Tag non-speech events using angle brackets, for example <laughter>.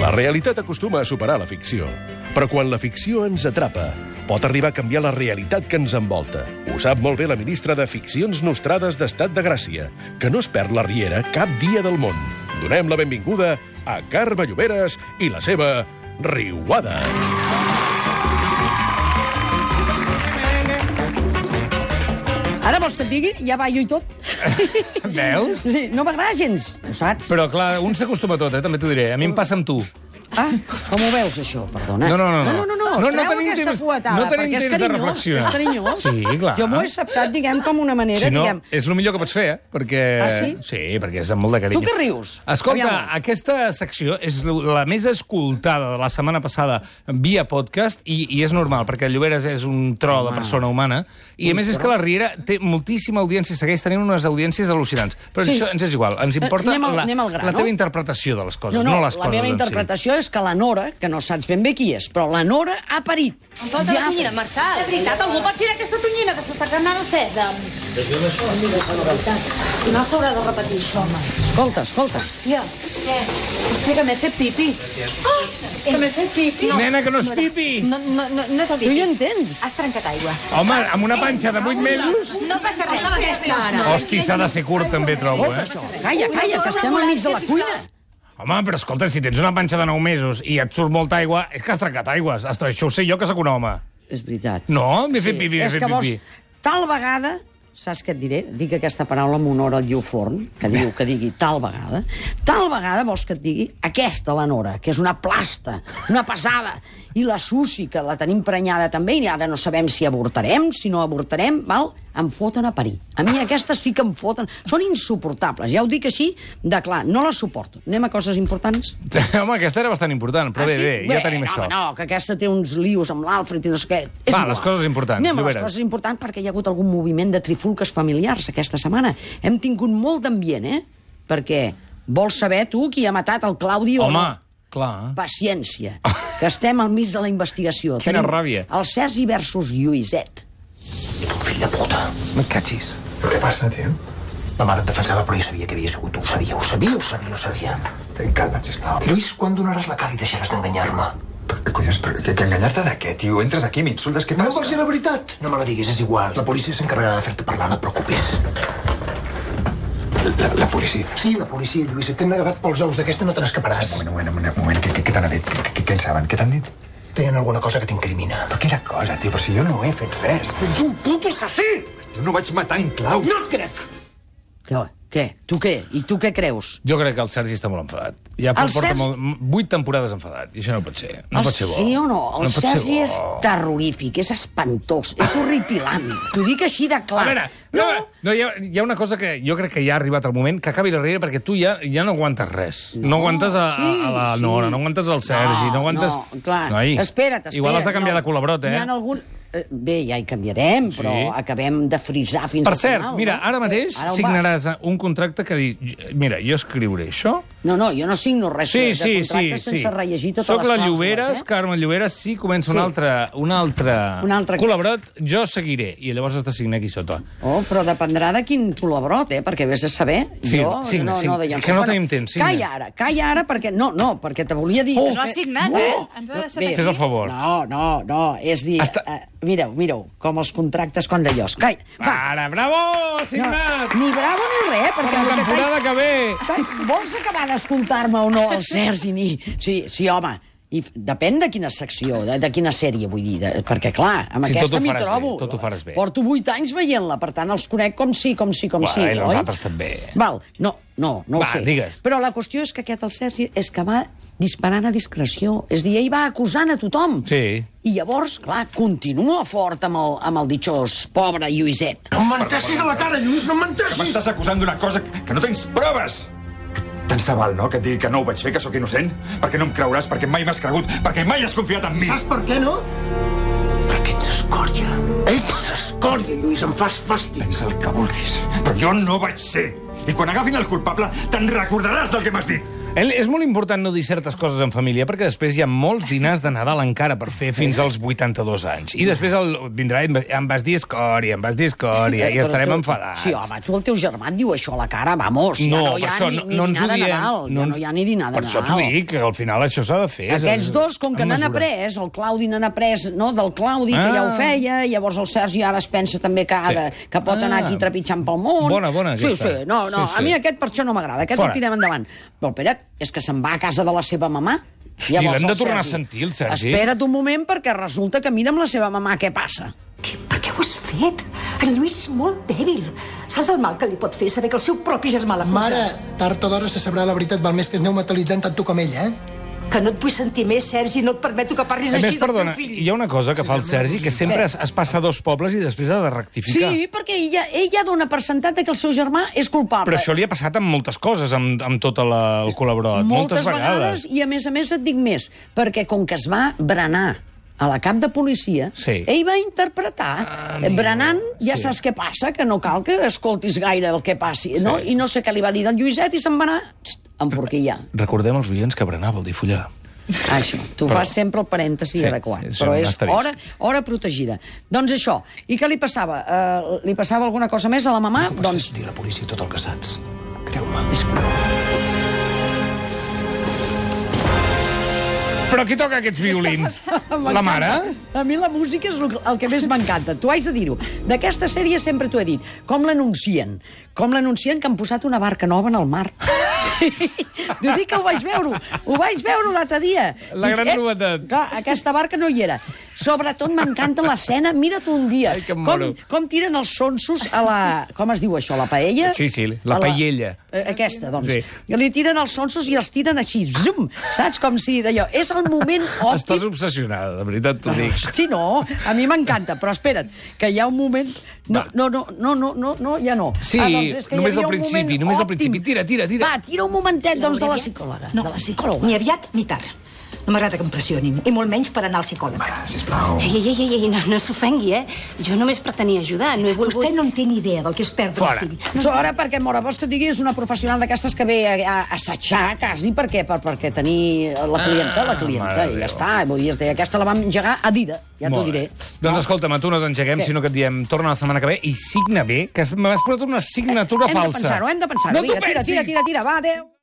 La realitat acostuma a superar la ficció, però quan la ficció ens atrapa, pot arribar a canviar la realitat que ens envolta. Ho sap molt bé la ministra de Ficcions Nostrades d'Estat de Gràcia, que no es perd la riera cap dia del món. Donem la benvinguda a Carme Lloberes i la seva Riuada. Ara vols que et digui? Ja ballo i <laughs> tot. Veus? Sí, no m'agrada gens, ho saps? Però, clar, un s'acostuma a tot, eh? també t'ho diré. A mi em passa amb tu. Ah, com ho veus, això? Perdona. No, no, no, no. no, no, no. No, no Treu tenim aquesta temps- fuetada, no tenim perquè és temps de carinyós, reflexionar. És carinyós. Sí, clar. Jo m'ho he acceptat, diguem, com una manera, Si no, diguem... és el millor que pots fer, eh? Perquè... Ah, sí? Sí, perquè és amb molt de carinyo. Tu què rius? Escolta, Aviam. aquesta secció és la més escoltada de la setmana passada via podcast i, i és normal, perquè el Lloberes és un tro de persona humana i, a més, és que la Riera té moltíssima audiència, segueix tenint unes audiències al·lucinants. Però Sí. això ens és igual, ens Eh, importa anem al- la, anem al gra, la no? teva interpretació de les coses, no, les la coses meva en si. interpretació és que la Nora, que no saps ben bé qui és, però la Nora ha parit. Em falta ha la tonyina, Marçal. De veritat, algú pot girar aquesta tonyina que s'està quedant sèsam. Al final s'haurà de repetir això, home. parit. Escolta, escolta. Tia, què? Hòstia, que m'he fet pipi. Ah, que m'he fet pipi. Nena, que no és pipi! No, no, no, no és Tu pipi. ja entens. Has trencat aigües. Home, amb una panxa de 8 mesos... No passa res, aquesta ara. Hosti, s'ha de ser curt, també, trobo, eh? Calla, calla, que estem al mig de la cuina. Home, però escolta, si tens una panxa de 9 mesos i et surt molta aigua, és que has trencat aigües. Ostres, això ho sé jo, que sóc un home. És veritat. No? M'he fet pipí, m'he és fet que pipí. tal vegada, saps què et diré? Dic aquesta paraula en honor al Llu Forn, que diu que digui tal vegada. Tal vegada vols que et digui aquesta, la Nora, que és una plasta, una pesada. I la Susi, que la tenim prenyada també, i ara no sabem si avortarem, si no avortarem, val? em foten a parir. A mi aquestes sí que em foten. Són insuportables, ja ho dic així, de clar, no les suporto. Anem a coses importants? <laughs> Home, aquesta era bastant important, però bé, bé, ja Ah, tenim no, això. No, que aquesta té uns lius amb l'Alfred i no sé què. És Va, igual. les coses importants, Anem a les Lloberes. coses importants perquè hi ha hagut algun moviment de trifulques familiars aquesta setmana. Hem tingut molt d'ambient, eh? Perquè vols saber tu qui ha matat el Claudi o Home, no? clar. Paciència, que estem al mig de la investigació. Quina Tenim ràbia. El Sergi versus Lluïset. Fill de puta. No et catxis. Però què passa, tio? La mare et defensava, però jo sabia que havia sigut. Ho sabia, ho sabia, ho sabia, ho sabia. Eh, Calma't, sisplau. Lluís, quan donaràs la cara i deixaràs d'enganyar-me? Però, què collons, però que, que enganyar-te de què, tio? Entres aquí, m'insultes, què No passa? em vols dir la veritat? No me la diguis, és igual. La policia s'encarregarà de fer-te parlar, no et preocupis. la, la, la policia. Sí, la policia, Lluís, et t'hem agafat pels ous. D'aquesta no te n'escaparàs. Un moment, un moment, un moment. Què, què, què t'han dit? Què, què, què en saben? Què t'han dit? Tenen alguna cosa que t'incrimina. Però quina cosa, tio? Però si jo no he fet res. Ets un puto assassí! Jo no vaig matar en clau. No et crec! Què? Què? Tu què? I tu què creus? Jo crec que el Sergi està molt enfadat. Ja El porta Sergi- molt... vuit temporades enfadat, i això no pot ser. No El- pot ser bo. Sí o no? El no pot ser Sergi bo. és terrorífic, és espantós, és horripilant. T'ho dic així de A clar. veure, no, no hi, ha, hi ha una cosa que jo crec que ja ha arribat el moment que acabi la Riera perquè tu ja ja no aguantes res. No, no aguantes a, a, a la sí. Nora, no aguantes al Sergi, no, aguantes... No, clar. Noi, espera't, espera't. Igual has de canviar no. de col·labrot, eh? Hi ha algun... eh, Bé, ja hi canviarem, però acabem de frisar fins Per al cert, final. mira, no? ara mateix Ara ho signaràs un contracte que diu... Mira, jo escriuré això... vas. No, no, jo no signo res eh, Sí, de sí, sí. contractes sí. sense rellegir totes Soc les la clàusules. Lloberes, eh? Carme Lloberes, sí, comença un Sí. altre, un altre, Un altre- col·laborat, jo seguiré, i llavors has de signar aquí sota. Oh, però dependrà de quin col·labrot, eh? Perquè vés a saber. Sí, jo signa, no, signa. no deia... És que no tenim temps, signa. Calla ara, calla ara, perquè... No, no, perquè te volia dir... Oh, Ens ho has que- Oh! Ens ha deixat aquí. Fes el favor. eh? No, no, no, és dir... Està- Eh, mireu, mireu, com els contractes con de llos. Calla, va. Ara, bravo, No, signat! ni bravo ni res, Per perquè... la el que t'ha- temporada que ve! Vols acabar d'escoltar-me o no, el Sergi? Ni... Sí, sí, home. I f- depèn de quina secció, de, de quina sèrie, vull dir. De, perquè, clar, amb Sí, tot ho aquesta m'hi faràs bé, trobo. tot ho faràs bé. Porto vuit anys veient-la, per tant, els conec com sí, com sí, com Bueno, sí. i els oi? altres també. Val, no, no, no Va, ho sé. digues. Però la qüestió és que aquest, el Sergi, és que va disparant a discreció. És a dir, ell va acusant a tothom. Sí. I llavors, clar, continua fort amb el, amb el ditxós, pobre Lluïset. No em menteixis a la cara, Lluís, no em menteixis! M'estàs acusant d'una cosa que, que no tens proves! Tant se val, no?, que et digui que no ho vaig fer, que sóc innocent? Perquè no em creuràs, perquè mai m'has cregut, perquè mai has confiat en mi! Saps per què, no? Perquè ets escòrdia. Ets escòrdia, Lluís, em fas fàstic. Tens el que vulguis, però jo no vaig ser. I quan agafin el culpable, te'n recordaràs del que m'has dit. El, és molt important no dir certes coses en família, perquè després hi ha molts dinars de Nadal encara per fer fins als 82 anys. I després el, vindrà i em, em vas dir escòria, em vas dir escòria, i Però estarem tu- enfadats. Sí, home, tu el teu germà et diu això a la cara, vamos. Ja no, hi ha ni, ni dinar de Nadal. ja no ens- no hi ha ni dinar de Per Nadal. això t'ho dic, que al final això s'ha de fer. Aquests dos, com que en n'han mesura. après, el Claudi n'han après no, del Claudi, que ja ho Ah. feia, i llavors el Sergi ara es pensa també que, ha Sí. de, que pot anar Ah. aquí trepitjant pel món. Bona, bona, Sí, aquesta. sí, no, no, sí, Sí, sí. sí. a mi aquest per això no m'agrada, aquest Fora. el tirem endavant. Però espera't, és que se'n va a casa de la seva mamà. Hosti, Llavors l'hem de el tornar a Sergi, sentir, el Sergi. Espera't un moment, perquè resulta que mira amb la seva mamà què passa. Què- Per què ho has fet? En Lluís és molt dèbil. Saps el mal que li pot fer saber que el seu propi germà l'acusa? Mare, tard o d'hora se sabrà la veritat, val més que es aneu mentalitzant tant tu com ell, eh? Que no et vull sentir més, Sergi, no et permeto que parlis A així més, perdona, del teu fill. hi ha una cosa que fa el Sergi, que sempre es, es passa a dos pobles i després ha de rectificar. Sí, perquè ella, ella dona per sentat que el seu germà és culpable. Però això li ha passat amb moltes coses, amb, amb tot la, el col·laborat. moltes, vegades. i a més a més et dic més, perquè com que es va berenar a la cap de policia, Sí. Ah, ell va interpretar. Amigo, Amigo. Berenant, ja sí. sí. saps què passa, que no cal que escoltis gaire el que passi, no? Sí. I no sé què li va dir del Lluïset i se'n va anar txt, en forquilla. Recordem als oients que berenar vol dir follar. Ah, Això, tu Però- fas sempre el parèntesi Sí, adequat, sí, sí, però un és asterisc. hora, hora protegida. Doncs això, i què li passava? Uh, li passava alguna cosa més a la mamà? Pots doncs doncs... dir a la policia tot el que saps. Creu-me. Però qui toca aquests <laughs> violins? M'encanta. La mare? A mi la música és el que- el que més m'encanta. Tu haig de dir-ho. D'aquesta sèrie sempre t'ho he dit. Com l'anuncien. Com l'anuncien que han posat una barca nova en el mar. <laughs> Sí. T'ho dic que ho vaig veure. Ho vaig veure l'altre dia. La gran "Ep, novetat." Clar, aquesta barca no hi era. Sobretot m'encanta l'escena. Mira tu un dia. Ai, que em moro. com, com tiren els sonsos a la... Com es diu això? La paella? Sí, sí, la A paella. Eh, Aquesta, doncs. Sí. Sí. Li tiren els sonsos i els tiren així, zum, saps? Com si d'allò. És el moment òptim Estàs obsessionada, de veritat Ah, t'ho dic. Hosti, no, a mi m'encanta, però espera't, que hi ha un moment... No, Va. no, no, no, no, no, no ja no. Ah, doncs Sí, és que hi només havia al un principi, moment només al òptim. principi. Tira, tira, tira. Va, tira un momentet, doncs, de la psicòloga. No, De la psicòloga. ni aviat ni tard. No m'agrada que em pressionin, i molt menys per anar al psicòleg. Mare, sisplau. Ei, ei, ei, ei no, no s'ofengui, eh? Jo només pretenia ajudar, no he volgut... Vostè no en té ni idea del que és perdre Fora. un fill. No, ara, perquè Mora Bosch, que digui, és una professional d'aquestes que ve a, a assetjar, quasi, perquè, per, perquè tenir la clienta, la clienta, Ah, mare de i Déu. ja està. Vull dir, aquesta la vam engegar a dida, ja t'ho Molt diré. bé. Doncs escolta'm, a tu no t'engeguem, Què? sinó que et diem torna la setmana que ve i signa bé, que m'has posat una signatura Hem de falsa. pensar-ho, hem de pensar-ho. No t'ho Vinga, tira, pensis! tira, tira, tira, va, adéu.